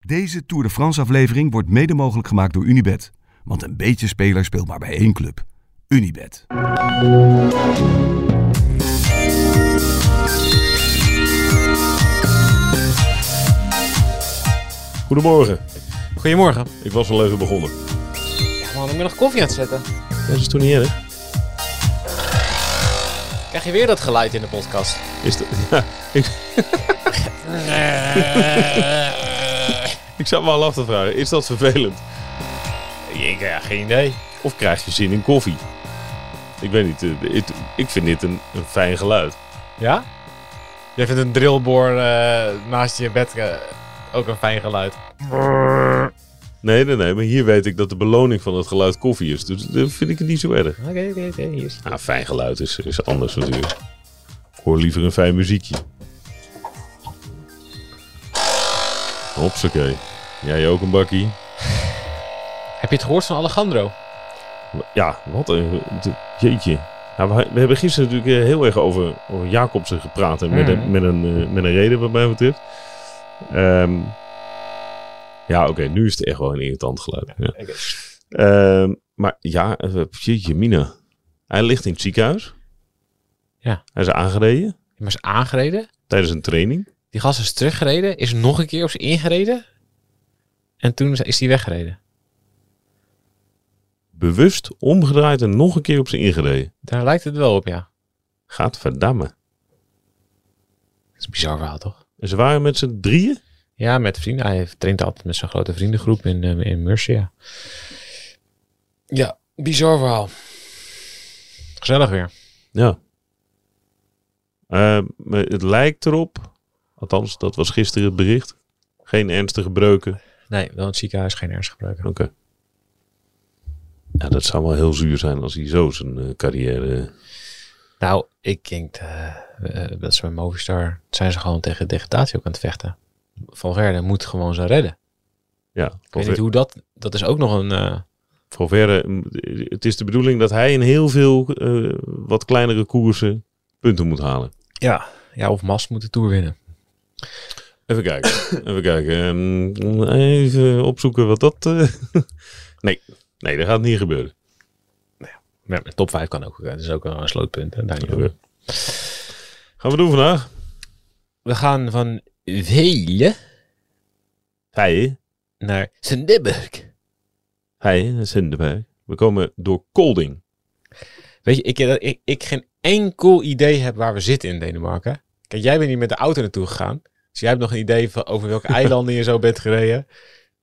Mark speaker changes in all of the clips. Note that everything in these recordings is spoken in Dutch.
Speaker 1: Deze Tour de France aflevering wordt mede mogelijk gemaakt door Unibet. Want een beetje speler speelt maar bij één club. Unibet.
Speaker 2: Goedemorgen,
Speaker 3: Goedemorgen.
Speaker 2: ik was al even begonnen.
Speaker 3: Ja, man, ik ben nog koffie aan het zetten.
Speaker 2: Dat is toch niet erg?
Speaker 3: Krijg je weer dat geluid in de podcast?
Speaker 2: Is dat, ja, ik, ik zat me al af te vragen, is dat vervelend?
Speaker 3: Ik ja, geen idee.
Speaker 2: Of krijg je zin in koffie? Ik weet niet, eh, ik, ik vind dit een, een fijn geluid.
Speaker 3: Ja? Jij vindt een drillboor eh, naast je bed eh, ook een fijn geluid.
Speaker 2: Nee, nee, nee, maar hier weet ik dat de beloning van het geluid koffie is. Dus dan vind ik het niet zo erg.
Speaker 3: Oké, oké, oké. Hier is
Speaker 2: Ah, fijn geluid is, is anders natuurlijk. Ik hoor liever een fijn muziekje. Hopsakee. Jij ook een bakkie?
Speaker 3: Heb je het gehoord van Alejandro?
Speaker 2: Ja, wat een... de- Jeetje. Nou, we, we hebben gisteren natuurlijk eh, heel erg over, over Jacobsen gepraat. En met,
Speaker 3: Mhm.
Speaker 2: een, met, een, eh, met een reden wat mij betreft. Ehm, ja, oké. nu is het echt wel een irritant geluid. Ja. Ehm, maar ja, eh, jeetje mina. Hij ligt in het ziekenhuis.
Speaker 3: Ja.
Speaker 2: Hij is aangereden
Speaker 3: Maar is aangereden.
Speaker 2: tijdens een training.
Speaker 3: Die gast is teruggereden. Is nog een keer op ze ingereden. En toen is- is hij weggereden.
Speaker 2: Bewust omgedraaid en nog een keer op zijn ingereden.
Speaker 3: Daar lijkt het wel op, ja.
Speaker 2: Gaat verdammen.
Speaker 3: Dat is een bizar verhaal, toch?
Speaker 2: En ze waren met z'n drieën.
Speaker 3: Ja, met vrienden. Hij traint altijd met zijn grote vriendengroep in, eh, in Murcia. Ja, bizar verhaal. Gezellig weer.
Speaker 2: Ja. Eh, maar het lijkt erop, althans dat was gisteren het bericht, geen ernstige breuken.
Speaker 3: Nee, wel in het ziekenhuis geen ernstig gebruiken.
Speaker 2: Oké. Ja, dat zou wel heel zuur zijn als hij zo zijn eh, carrière...
Speaker 3: Nou, ik denk eh, eh, dat ze bij Movistar zijn ze gewoon tegen degradatie ook aan het vechten. Valverde moet gewoon ze redden.
Speaker 2: Ja,
Speaker 3: Ik weet niet hoe dat... Dat is ook nog een... eh,
Speaker 2: voor verre, mm, het is de bedoeling dat hij in heel veel eh, wat kleinere koersen punten moet halen.
Speaker 3: ja. ja, of Mas moet de Tour winnen.
Speaker 2: Even kijken, even kijken. Ehm, even opzoeken wat dat... eh, nee, nee, dat gaat niet gebeuren.
Speaker 3: Ja, maar top 5 kan ook. eh, Dat is ook wel een slootpunt. hè, Daar niet over.
Speaker 2: Oké. Gaan we doen vandaag?
Speaker 3: We gaan van Velen
Speaker 2: Hij,
Speaker 3: naar Zendeburg.
Speaker 2: Hij, Zinderberg. We komen door Kolding.
Speaker 3: Weet je, ik, dat ik, ik geen enkel idee heb waar we zitten in Denemarken. Kijk, jij bent hier met de auto naartoe gegaan. Dus jij hebt nog een idee van over welke eilanden je zo bent gereden.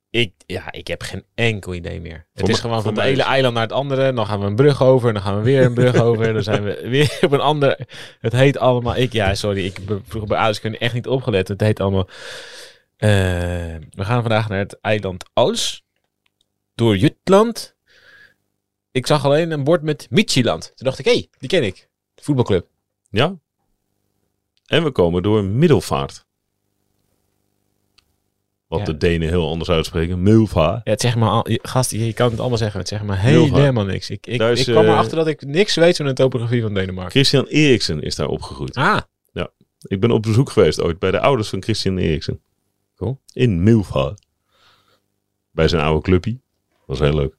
Speaker 3: Ik, ja, ik heb geen enkel idee meer. Het
Speaker 2: mij-
Speaker 3: is gewoon
Speaker 2: voor
Speaker 3: van het
Speaker 2: mij
Speaker 3: ene
Speaker 2: is-
Speaker 3: eiland naar het andere. Dan gaan we een brug over. En dan gaan we weer een brug over. En dan zijn we weer op een ander. Het heet allemaal. Ik, ja, sorry. Ik heb vroeger bij ouders echt niet opgelet. Het heet allemaal. eh, we gaan vandaag naar het eiland Als. Door Jutland. Ik zag alleen een bord met Michieland. Toen dacht ik, hé, hey, die ken ik. De voetbalclub.
Speaker 2: Ja? En we komen door Middelvaart. Wat
Speaker 3: Ja.
Speaker 2: de Denen heel anders uitspreken. Milva.
Speaker 3: Ja, het zeg maar, al- je- gast, je je kan het allemaal zeggen. Het zeg maar
Speaker 2: Heel
Speaker 3: helemaal niks. Ik, ik,
Speaker 2: Daar is,
Speaker 3: ik kwam
Speaker 2: eh,
Speaker 3: erachter dat ik niks weet van de topografie van Denemarken.
Speaker 2: Christian Eriksen is daar opgegroeid.
Speaker 3: Ah,
Speaker 2: Ik ben op bezoek geweest ooit bij de ouders van Christian Eriksen.
Speaker 3: Cool.
Speaker 2: In Milva. Bij zijn oude clubje. Was heel leuk.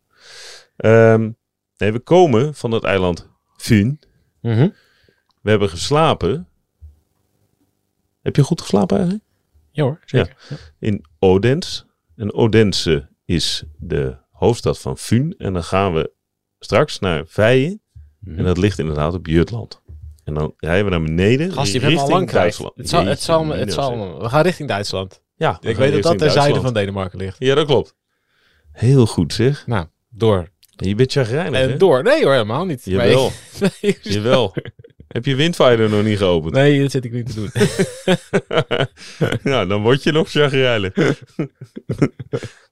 Speaker 2: Ehm, nee, we komen van het eiland Fyn.
Speaker 3: mhm.
Speaker 2: We hebben geslapen. Heb je goed geslapen eigenlijk?
Speaker 3: ja hoor, zeker.
Speaker 2: in Odense. En Odense is de hoofdstad van Fun. En dan gaan we straks naar Veien.
Speaker 3: Mhm.
Speaker 2: En dat ligt inderdaad op Jutland. En dan rijden we naar beneden.
Speaker 3: Gast, je hebt hem
Speaker 2: richting
Speaker 3: al lang kwijt.
Speaker 2: Duitsland.
Speaker 3: Het zal, het
Speaker 2: Jeetje,
Speaker 3: zal, me-
Speaker 2: mina,
Speaker 3: het zal,
Speaker 2: zeg.
Speaker 3: me- we gaan richting Duitsland.
Speaker 2: Ja, we
Speaker 3: Ik
Speaker 2: gaan
Speaker 3: weet dat dat
Speaker 2: richting
Speaker 3: ter
Speaker 2: Duitsland.
Speaker 3: zuiden van Denemarken ligt.
Speaker 2: Ja, dat klopt. Heel goed zeg.
Speaker 3: Nou, door.
Speaker 2: Je bent chagrijnig, hè?
Speaker 3: En door. Nee hoor, helemaal niet. Maar
Speaker 2: Jawel,
Speaker 3: ik- Nee,
Speaker 2: jawel. Heb je Windfighter nog niet geopend?
Speaker 3: nee, dat zit ik niet te doen.
Speaker 2: nou, dan word je nog chagrijnig.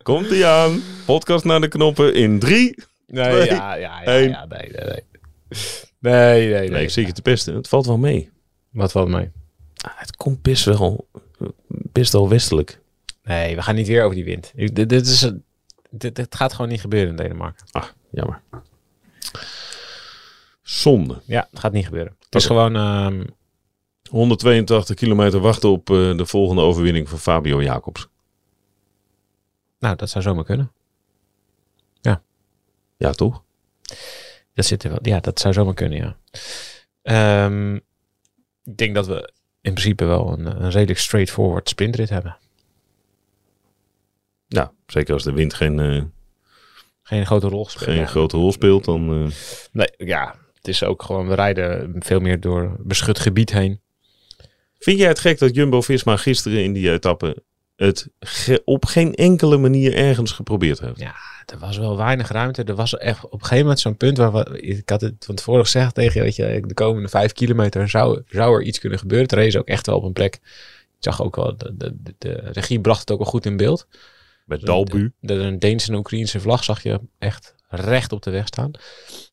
Speaker 2: Komt-ie aan. Podcast naar de knoppen in drie,
Speaker 3: Nee,
Speaker 2: Twee,
Speaker 3: ja, ja, ja,
Speaker 2: één.
Speaker 3: ja, nee, nee, nee. Nee, nee,
Speaker 2: Nee,
Speaker 3: nee.
Speaker 2: ik zie je te pesten. Het valt wel mee.
Speaker 3: Wat valt mij?
Speaker 2: Ah, het komt best wel, best wel westelijk.
Speaker 3: Nee, we gaan niet weer over die wind. Ik- Dit, dit, is een, dit, dit gaat gewoon niet gebeuren in Denemarken.
Speaker 2: Ah, jammer. Zonde.
Speaker 3: Ja, het gaat niet gebeuren. Het is gewoon... ehm,
Speaker 2: 182 kilometer wachten op eh, de volgende overwinning van Fabio Jacobs.
Speaker 3: Nou, dat zou zomaar kunnen.
Speaker 2: Ja, toch?
Speaker 3: Dat zit er wel. Ja, dat zou zomaar kunnen, ja. Ehm, ik denk dat we in principe wel een, een redelijk straightforward sprintrit hebben.
Speaker 2: Ja, zeker als de wind geen, eh,
Speaker 3: Geen grote rol gespeeld.
Speaker 2: geen grote rol speelt, dan... eh,
Speaker 3: Nee, ja, het is ook gewoon, we rijden veel meer door beschut gebied heen.
Speaker 2: Vind jij het gek dat Jumbo-Visma gisteren in die etappe het ge- op geen enkele manier ergens geprobeerd heeft?
Speaker 3: eh, Ja, er was wel weinig ruimte. Er was echt op een gegeven moment zo'n punt waar we, ik had het van tevoren gezegd tegen je, weet je, de komende vijf kilometer zou, zou er iets kunnen gebeuren. Het race ook echt wel op een plek. Ik zag ook wel, de, de, de- de regie bracht het ook wel goed in beeld.
Speaker 2: Bij Dalbu.
Speaker 3: De, een Deense en Oekraïense vlag zag je echt recht op de weg staan.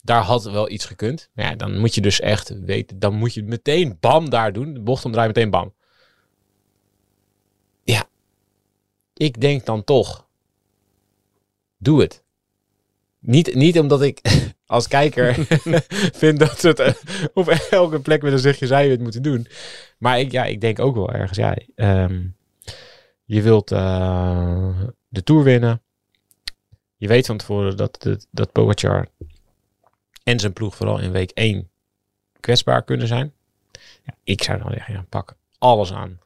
Speaker 3: Daar had wel iets gekund. Maar ja, dan moet je dus echt weten, dan moet je meteen bam daar doen. De bocht omdraaien, meteen bam. Ja, ik denk dan toch, doe het. Niet, niet omdat ik als kijker vind dat ze het eh, op elke plek met een zegje zij het moeten doen. Maar ik, ja, ik denk ook wel ergens, ja, ehm, je wilt eh, de Tour winnen. Je weet van tevoren dat, dat, dat Pogacar en zijn ploeg vooral in week 1 kwetsbaar kunnen zijn. Ja, ik zou dan zeggen, ja, pak alles aan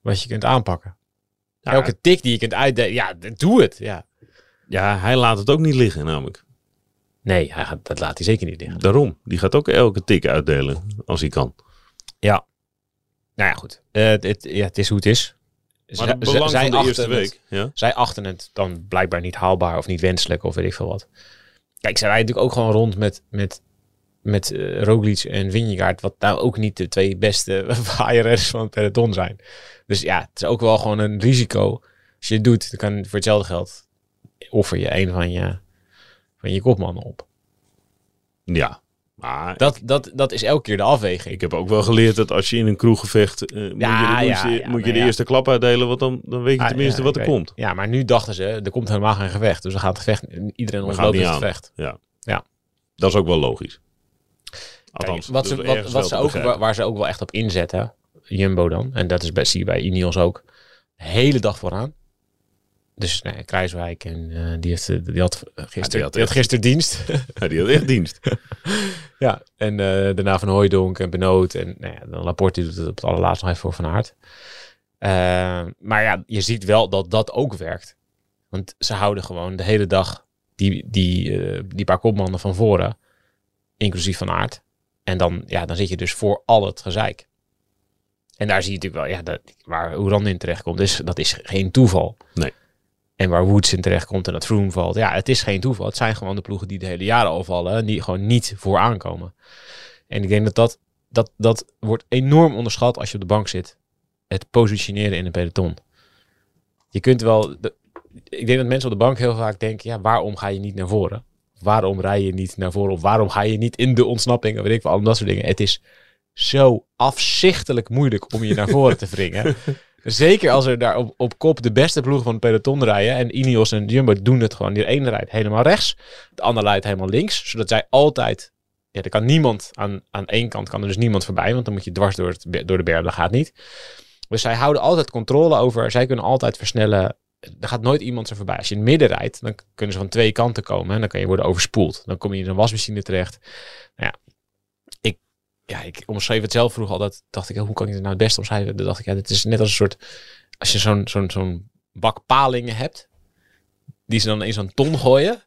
Speaker 3: wat je kunt aanpakken.
Speaker 2: Ja,
Speaker 3: Elke tik die je kunt uitdelen, ja, d- doe het. Ja.
Speaker 2: ja, hij laat het ook niet liggen namelijk.
Speaker 3: Nee, hij gaat, dat laat hij zeker niet liggen.
Speaker 2: Daarom. Die gaat ook elke tik uitdelen als hij kan.
Speaker 3: Ja. Nou ja, goed. Eh, het, het- ja, het is hoe het is.
Speaker 2: Maar
Speaker 3: Zij-
Speaker 2: het belang
Speaker 3: zij
Speaker 2: van de
Speaker 3: achten
Speaker 2: eerste
Speaker 3: het-
Speaker 2: week. Ja?
Speaker 3: Zij achten het dan blijkbaar niet haalbaar of niet wenselijk of weet ik veel wat. Kijk, zij rijden natuurlijk ook gewoon rond met, met, met eh, Roglic en Vingegaard. Wat nou ook niet de twee beste waaierers van het peloton zijn. Dus ja, het is ook wel gewoon een risico. Als je het doet, dan kan voor hetzelfde geld offer je een van je, van je kopmannen op.
Speaker 2: ja. Maar
Speaker 3: Dat, dat, dat is elke keer de afweging.
Speaker 2: ik heb ook wel geleerd dat als je in een kroeggevecht... eh, moet
Speaker 3: Ja,
Speaker 2: je de,
Speaker 3: ja,
Speaker 2: moet je-
Speaker 3: ja,
Speaker 2: moet je
Speaker 3: maar
Speaker 2: de
Speaker 3: ja.
Speaker 2: eerste klap uitdelen, want dan, dan weet je
Speaker 3: Ah,
Speaker 2: tenminste
Speaker 3: ja,
Speaker 2: wat
Speaker 3: ik
Speaker 2: er
Speaker 3: weet.
Speaker 2: komt.
Speaker 3: Ja, maar nu dachten ze, er komt helemaal geen gevecht. Dus we gaan het gevecht, iedereen
Speaker 2: gaan
Speaker 3: ontloopt
Speaker 2: niet
Speaker 3: het
Speaker 2: aan.
Speaker 3: gevecht.
Speaker 2: Dat is ook wel logisch.
Speaker 3: Kijk,
Speaker 2: Althans,
Speaker 3: wat
Speaker 2: dat
Speaker 3: ze,
Speaker 2: is
Speaker 3: wat,
Speaker 2: ergens
Speaker 3: wat
Speaker 2: wel
Speaker 3: ze
Speaker 2: te
Speaker 3: ook,
Speaker 2: begrijpen.
Speaker 3: waar, waar ze ook wel echt op inzetten, Jumbo dan, en dat is bij, zie je bij Ineos ook, de hele dag vooraan. Dus nee, Kruiswijk, en, eh, die, heeft, eh, die, had eh, gisteren,
Speaker 2: Ja,
Speaker 3: die,
Speaker 2: die
Speaker 3: had
Speaker 2: had
Speaker 3: gisteren dienst.
Speaker 2: Ja, die had echt dienst.
Speaker 3: ja, en eh, daarna Van Hooijdonk en Benoot. En nou ja, dan Laporte die doet het op het allerlaatst nog even voor Van Aert. Eh, maar ja, je ziet wel dat dat ook werkt. Want ze houden gewoon de hele dag die, die, eh, die paar kopmannen van voren. Inclusief Van Aert. En dan, ja, dan zit je dus voor al het gezeik. En daar zie je natuurlijk wel, ja, dat, waar Oeran in terechtkomt, is, dat is geen toeval.
Speaker 2: Nee.
Speaker 3: En waar Woods in terechtkomt en dat Froome valt. Ja, het is geen toeval. Het zijn gewoon de ploegen die de hele jaren al vallen. En die gewoon niet vooraan komen. En ik denk dat dat, dat dat wordt enorm onderschat als je op de bank zit. Het positioneren in een peloton. Je kunt wel... de- ik denk dat mensen op de bank heel vaak denken... Ja, waarom ga je niet naar voren? Waarom rij je niet naar voren? Of waarom ga je niet in de ontsnapping? Of weet ik wel, allemaal dat soort dingen. Het is zo afzichtelijk moeilijk om je naar voren te wringen. Zeker als er daar op, op kop de beste ploegen van het peloton rijden. En Ineos en Jumbo doen het gewoon. De ene rijdt helemaal rechts. De ander rijdt helemaal links. Zodat zij altijd... Ja, er kan niemand... Aan, aan één kant kan er dus niemand voorbij. Want dan moet je dwars door, het, be- door de bergen. Dat gaat niet. Dus zij houden altijd controle over. Zij kunnen altijd versnellen. Er gaat nooit iemand er voorbij. Als je in het midden rijdt, dan kunnen ze van twee kanten komen. En dan kan je worden overspoeld. Dan kom je in een wasmachine terecht. Nou ja, ik, ja, ik omschreef het zelf vroeger al. Dat dacht ik, hoe kan ik het nou het beste omschrijven? Dan dacht ik, ja, dit is net als een soort als je zo'n zo'n zo'n bak palingen hebt, die ze dan in zo'n ton gooien.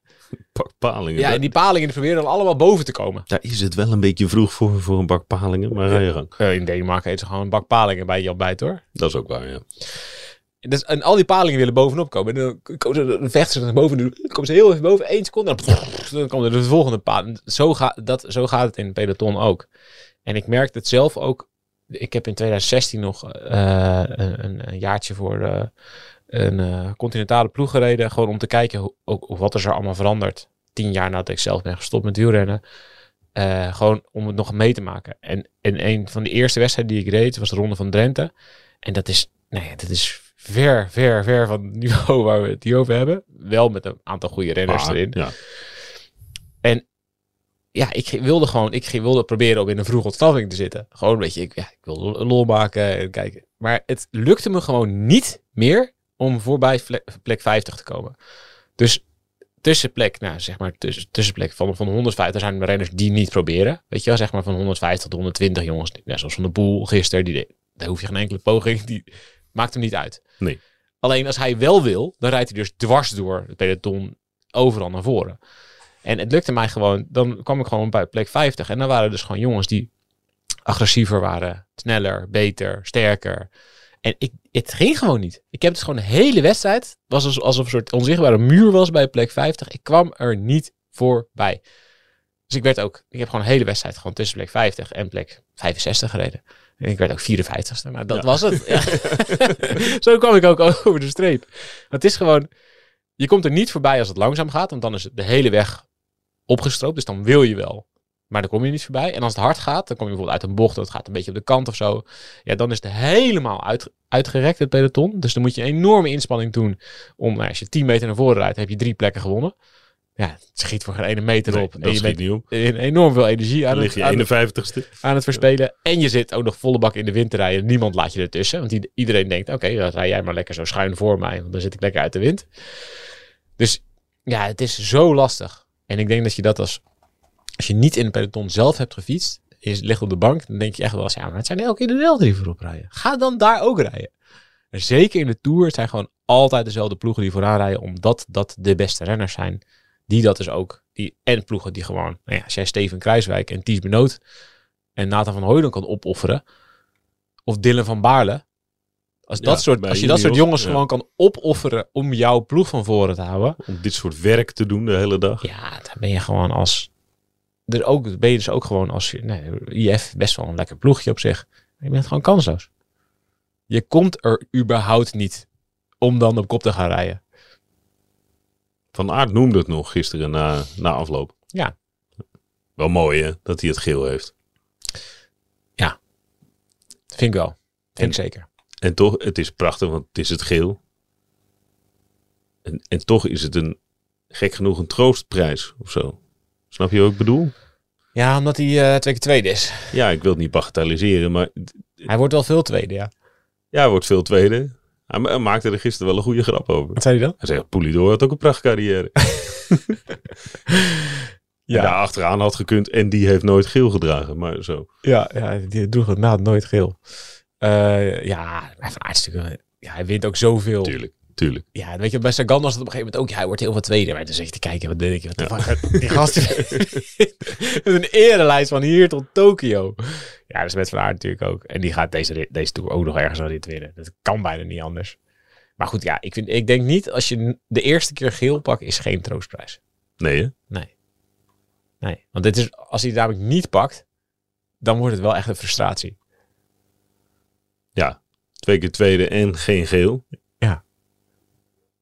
Speaker 2: Pak palingen.
Speaker 3: Ja,
Speaker 2: Daar-
Speaker 3: en die palingen die proberen dan allemaal boven te komen.
Speaker 2: Daar is het wel een beetje vroeg voor, voor een bak palingen, maar ga je gang.
Speaker 3: Eh, in Denemarken eten ze gewoon een bak palingen bij Jan Bijt hoor.
Speaker 2: Dat is ook waar, ja.
Speaker 3: Dus, en al die palingen willen bovenop komen. En dan, komen ze, dan vechten ze naar boven. Dan komen ze heel even boven. één seconde. en Dan, dan komt er de volgende paling. Zo, ga, dat, zo gaat het in het peloton ook. En ik merk het zelf ook. Ik heb in 2016 nog eh, een, een- een jaartje voor eh, een eh, continentale ploeg gereden. Gewoon om te kijken hoe, ook, wat is er allemaal veranderd. Tien jaar nadat ik zelf ben gestopt met wielrennen. Eh, gewoon om het nog mee te maken. En, en een van de eerste wedstrijden die ik reed was de Ronde van Drenthe. En dat is, nou ja, dat is ver, ver, ver van het niveau waar we het hier over hebben. Wel met een aantal goede renners
Speaker 2: Maar,
Speaker 3: erin
Speaker 2: ja.
Speaker 3: ja, ik wilde gewoon, ik wilde proberen om in een vroege ontsnapping te zitten. Gewoon, weet je, ik, ja, ik wilde lol maken en kijken. Maar het lukte me gewoon niet meer om voorbij vle- plek 50 te komen. Dus tussenplek, nou zeg maar tussen, tussenplek van, van 150 zijn er renners die niet proberen. Weet je wel, zeg maar van 150 tot 120 jongens. Net zoals Van de Boel gisteren, die, deed- daar hoef je geen enkele poging, die maakt hem niet uit.
Speaker 2: Nee.
Speaker 3: Alleen als hij wel wil, dan rijdt hij dus dwars door het peloton overal naar voren. En het lukte mij gewoon, dan kwam ik gewoon bij plek 50. En dan waren er dus gewoon jongens die agressiever waren, sneller, beter, sterker. En ik, het ging gewoon niet. Ik heb het gewoon de hele wedstrijd. Het was als- alsof een soort onzichtbare muur was bij plek 50. Ik kwam er niet voorbij. Dus ik werd ook, ik heb gewoon de hele wedstrijd gewoon tussen plek 50 en plek 65 gereden. En ik werd ook 54ste, maar dat was het. Ja. Zo kwam ik ook over de streep. Want het is gewoon, je komt er niet voorbij als het langzaam gaat, want dan is het de hele weg opgestroopt. Dus dan wil je wel, maar dan kom je niet voorbij. En als het hard gaat, dan kom je bijvoorbeeld uit een bocht, dat gaat een beetje op de kant of zo. Ja, dan is het helemaal uit, uitgerekt, het peloton. Dus dan moet je een enorme inspanning doen om, nou, als je 10 meter naar voren rijdt, heb je drie plekken gewonnen. Ja, het schiet voor geen ene meter
Speaker 2: Nee,
Speaker 3: op. En
Speaker 2: dat
Speaker 3: je
Speaker 2: schiet
Speaker 3: bent
Speaker 2: niet op.
Speaker 3: in enorm veel energie aan
Speaker 2: Dan
Speaker 3: het,
Speaker 2: lig je
Speaker 3: aan,
Speaker 2: 51ste.
Speaker 3: aan het verspelen. En je zit ook nog volle bak in de wind te rijden. Niemand laat je ertussen. Want i- iedereen denkt, oké, dan rij jij maar lekker zo schuin voor mij. Want dan zit ik lekker uit de wind. Dus ja, het is zo lastig. En ik denk dat je dat als... Als je niet in het peloton zelf hebt gefietst, is, ligt op de bank, dan denk je echt wel eens, ja, maar het zijn elke keer de die voorop rijden. Ga dan daar ook rijden. En zeker in de Tour het zijn gewoon altijd dezelfde ploegen die vooraan rijden, omdat dat de beste renners zijn. Die dat dus ook, die, en ploegen die gewoon, nou ja, als jij Steven Kruiswijk en Ties Benoot en Nathan van Hooydonk kan opofferen, of Dylan van Baarle, als,
Speaker 2: Ja,
Speaker 3: dat soort,
Speaker 2: bij
Speaker 3: als je dat soort
Speaker 2: juniors,
Speaker 3: jongens
Speaker 2: ja.
Speaker 3: gewoon kan opofferen om jouw ploeg van voren te houden,
Speaker 2: Om dit soort werk te doen de hele dag.
Speaker 3: ja, dan ben je gewoon als. Dus ook, ben je dus ook gewoon als. je- Nee, IF best wel een lekker ploegje op zich. Maar je bent gewoon kansloos. Je komt er überhaupt niet om dan op kop te gaan rijden.
Speaker 2: Van Aert noemde het nog gisteren na, na afloop.
Speaker 3: Ja.
Speaker 2: Wel mooi hè, dat hij het geel heeft.
Speaker 3: Vind ik wel. Vind ik zeker.
Speaker 2: En toch, het is prachtig, want het is het geel. En, en toch is het een, gek genoeg, een troostprijs of zo. Snap je wat ik bedoel?
Speaker 3: Ja, omdat hij eh, twee keer tweede is.
Speaker 2: Ja, ik wil het niet bagatelliseren, maar d-
Speaker 3: Hij wordt wel veel tweede, ja.
Speaker 2: ja, hij wordt veel tweede. Hij ma- hij maakte er gisteren wel een goede grap over.
Speaker 3: zei hij dan?
Speaker 2: Hij zegt, Poulidor had ook een prachtcarrière. ja. daar achteraan had gekund en die heeft nooit geel gedragen, maar zo.
Speaker 3: Ja, ja die droeg het na nooit geel. Eh, ja, hij van Aert is natuurlijk een- ja, hij wint ook zoveel.
Speaker 2: Tuurlijk, tuurlijk.
Speaker 3: Ja, en weet je, bij Sagan was het op een gegeven moment ook, ja, hij wordt heel veel tweede. Maar dan zit je te kijken, wat denk je, wat de fuck, die gast met een erelijst van hier tot Tokio. Ja, dat is met Van Aert natuurlijk ook. En die gaat deze, rit- deze Tour ook nog ergens aan dit winnen. Dat kan bijna niet anders. Maar goed, ja, ik, vind, ik denk niet, als je n- de eerste keer geel pakt, is geen troostprijs.
Speaker 2: Nee hè?
Speaker 3: Nee, want dit is, als hij het namelijk niet pakt, dan wordt het wel echt een frustratie.
Speaker 2: Ja, twee keer tweede en geen geel.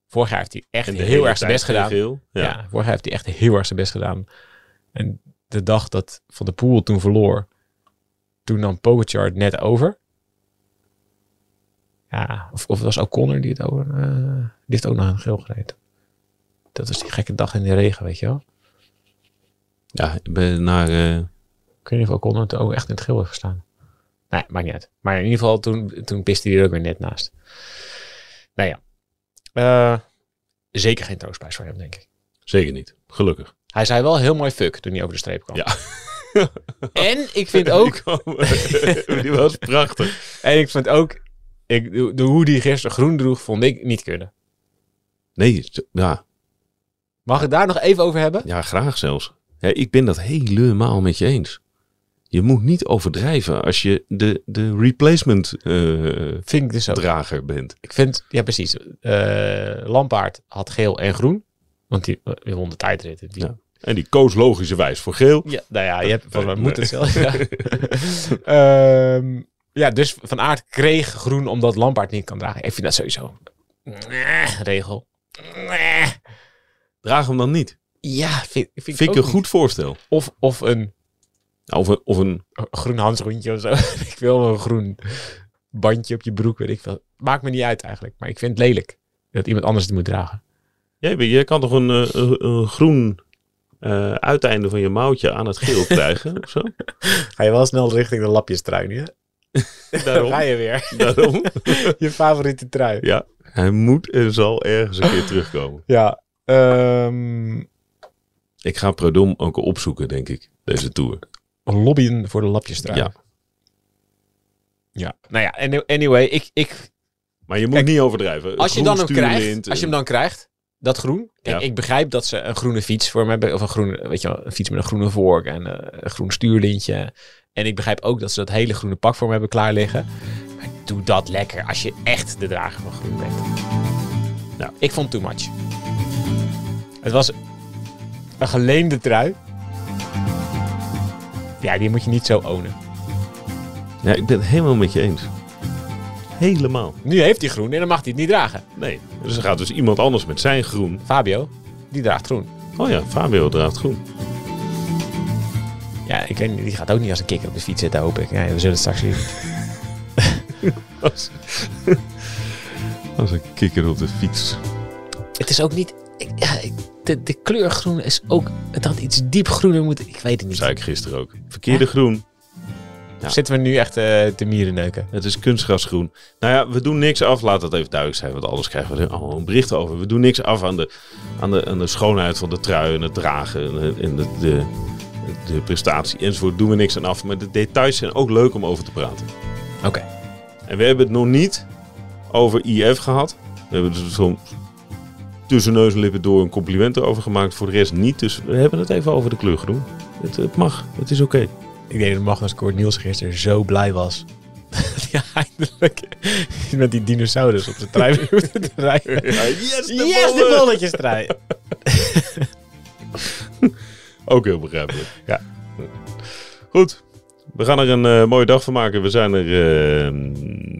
Speaker 3: Vorig jaar heeft hij echt
Speaker 2: En de
Speaker 3: heel
Speaker 2: hele
Speaker 3: erg zijn
Speaker 2: tijd
Speaker 3: best
Speaker 2: geen
Speaker 3: gedaan.
Speaker 2: Geel. Ja.
Speaker 3: Ja. vorig jaar heeft hij echt heel erg zijn best gedaan. En de dag dat Van der Poel toen verloor, toen nam Pogacar het net over. Ja, of, of was O'Connor die het over... eh, die heeft ook nog een geel gereden. Dat was die gekke dag in de regen, weet je wel.
Speaker 2: Ja, ik ben naar... eh,
Speaker 3: Ik weet niet of O'Connor het ook echt in het geel heeft gestaan. Nee, maakt niet uit. Maar in ieder geval, toen, toen piste hij er ook weer net naast. Nou ja. Eh, zeker geen troostprijs voor hem, denk ik.
Speaker 2: zeker niet. Gelukkig.
Speaker 3: Hij zei wel heel mooi fuck toen hij over de streep kwam.
Speaker 2: Ja.
Speaker 3: en ik vind ook...
Speaker 2: Die, kwam- die was prachtig.
Speaker 3: En ik vond ook, ik, de, de hoe die gisteren groen droeg, vond ik niet kunnen.
Speaker 2: Nee, z- ja,
Speaker 3: Mag ik het daar nog even over hebben?
Speaker 2: ja graag zelfs. Ja, ik ben dat helemaal met je eens. Je moet niet overdrijven als je de, de replacement eh,
Speaker 3: Vind ik dus ook.
Speaker 2: drager bent.
Speaker 3: Ik vind, ja precies, Eh Lampaard had geel en groen. Want die, eh, die won de tijdrit. Die, ja.
Speaker 2: Ja. En die koos logischerwijs voor geel.
Speaker 3: nou ja, je hebt, volgens mij
Speaker 2: Nee,
Speaker 3: moet
Speaker 2: nee.
Speaker 3: het zelf. Ja. Ehm, ja, dus Van Aert kreeg groen omdat Lampaard niet kan dragen. Ik vind dat sowieso een eh, regel.
Speaker 2: Draag hem dan niet.
Speaker 3: Ja, vind, vind, ik
Speaker 2: Vind
Speaker 3: ook
Speaker 2: ik een
Speaker 3: niet.
Speaker 2: goed voorstel.
Speaker 3: Of, of een
Speaker 2: Nou, of een, of een
Speaker 3: groen handschoentje of zo. ik wil wel een groen bandje op je broek, weet ik veel. Maakt me niet uit eigenlijk, maar ik vind het lelijk dat iemand anders het moet dragen.
Speaker 2: Jij, jij kan toch een, eh, een- een groen eh, uiteinde van je mouwtje aan het geel krijgen? of zo?
Speaker 3: Ga je wel snel richting de lapjestruin, hè?
Speaker 2: Daarom.
Speaker 3: je weer.
Speaker 2: daarom.
Speaker 3: je favoriete trui.
Speaker 2: Ja. Hij moet en zal ergens een keer terugkomen.
Speaker 3: Ja. ehm,
Speaker 2: Ik ga Prodom ook opzoeken, denk ik, deze tour.
Speaker 3: lobbyen voor de lapjesdraai.
Speaker 2: Ja.
Speaker 3: Ja. Nou ja, any- anyway. Ik, ik,
Speaker 2: Maar je moet
Speaker 3: Kijk,
Speaker 2: niet overdrijven.
Speaker 3: als, je
Speaker 2: Groen
Speaker 3: dan hem
Speaker 2: stuurlint
Speaker 3: krijgt,
Speaker 2: en-
Speaker 3: als je hem dan krijgt, dat groen. Kijk,
Speaker 2: Ja.
Speaker 3: ik begrijp dat ze een groene fiets voor me hebben. Of een, groene, weet je, wel, een fiets met een groene vork en eh, een groen stuurlintje. En ik begrijp ook dat ze dat hele groene pak voor me hebben klaar liggen. Maar doe dat lekker als je echt de drager van groen bent. Nou,
Speaker 2: Ja.
Speaker 3: Ik vond too much. Het was een geleende trui. Ja, die moet je niet zo ownen.
Speaker 2: Ja, ik ben het helemaal met je eens. Helemaal.
Speaker 3: Nu heeft hij groen en dan mag hij het niet dragen.
Speaker 2: Nee. Dus er gaat dus iemand anders met zijn groen.
Speaker 3: Fabio, die draagt groen.
Speaker 2: Oh ja, Fabio draagt groen.
Speaker 3: Ja, ik weet niet, die gaat ook niet als een kikker op de fiets zitten, hoop ik. Ja, we zullen het straks zien.
Speaker 2: Als, als een kikker op de fiets.
Speaker 3: Het is ook niet... ik- ja, ik- de, de kleur groen is ook... Het had iets diep groener moeten... Ik weet het niet.
Speaker 2: Zei ik gisteren ook. Verkeerde groen. ja.
Speaker 3: Zitten we nu echt eh, te mieren neuken?
Speaker 2: Het is kunstgrasgroen. Nou ja, we doen niks af. Laat dat even duidelijk zijn, want anders krijgen we er allemaal een bericht over. We doen niks af aan de, aan de, aan de schoonheid van de trui en het dragen en, de, en de, de, de prestatie enzovoort. Doen we niks aan af. Maar de details zijn ook leuk om over te praten.
Speaker 3: Oké.
Speaker 2: En we hebben het nog niet over IF gehad. We hebben er soms tussen neus en lippen door een compliment over gemaakt. Voor de rest niet. Dus we hebben het even over de kleur groen. Het, het mag. Het is oké.
Speaker 3: Ik denk dat Magnus Kort Niels gisteren zo blij was. Dat hij eindelijk met die dinosaurus op de trein weer hoefde te rijden.
Speaker 2: yes,
Speaker 3: Yes, de bolletjes trein.
Speaker 2: Ook heel begrijpelijk.
Speaker 3: Ja.
Speaker 2: Goed. We gaan er een eh, mooie dag van maken. We zijn er eh,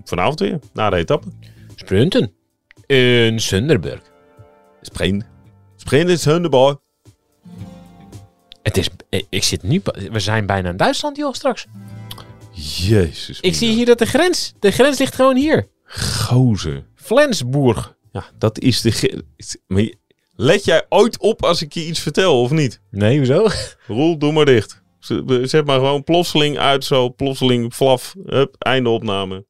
Speaker 2: vanavond weer. Na de etappe.
Speaker 3: Sprunten. In Sunderburg.
Speaker 2: Spreen. Spreen is hun de bal.
Speaker 3: Het is... eh, Ik zit nu... pa- We zijn bijna in Duitsland, joh, straks.
Speaker 2: Jezus.
Speaker 3: Ik zie hier dat de grens... De grens ligt gewoon hier.
Speaker 2: Gozer.
Speaker 3: Flensburg.
Speaker 2: Ja, dat is de... ge- Maar je- let jij ooit op als ik je iets vertel of niet?
Speaker 3: Nee, hoezo?
Speaker 2: Roel, doe maar dicht. Z- Zet maar gewoon plotseling uit zo. Plotseling, flaf. Hup, einde opname.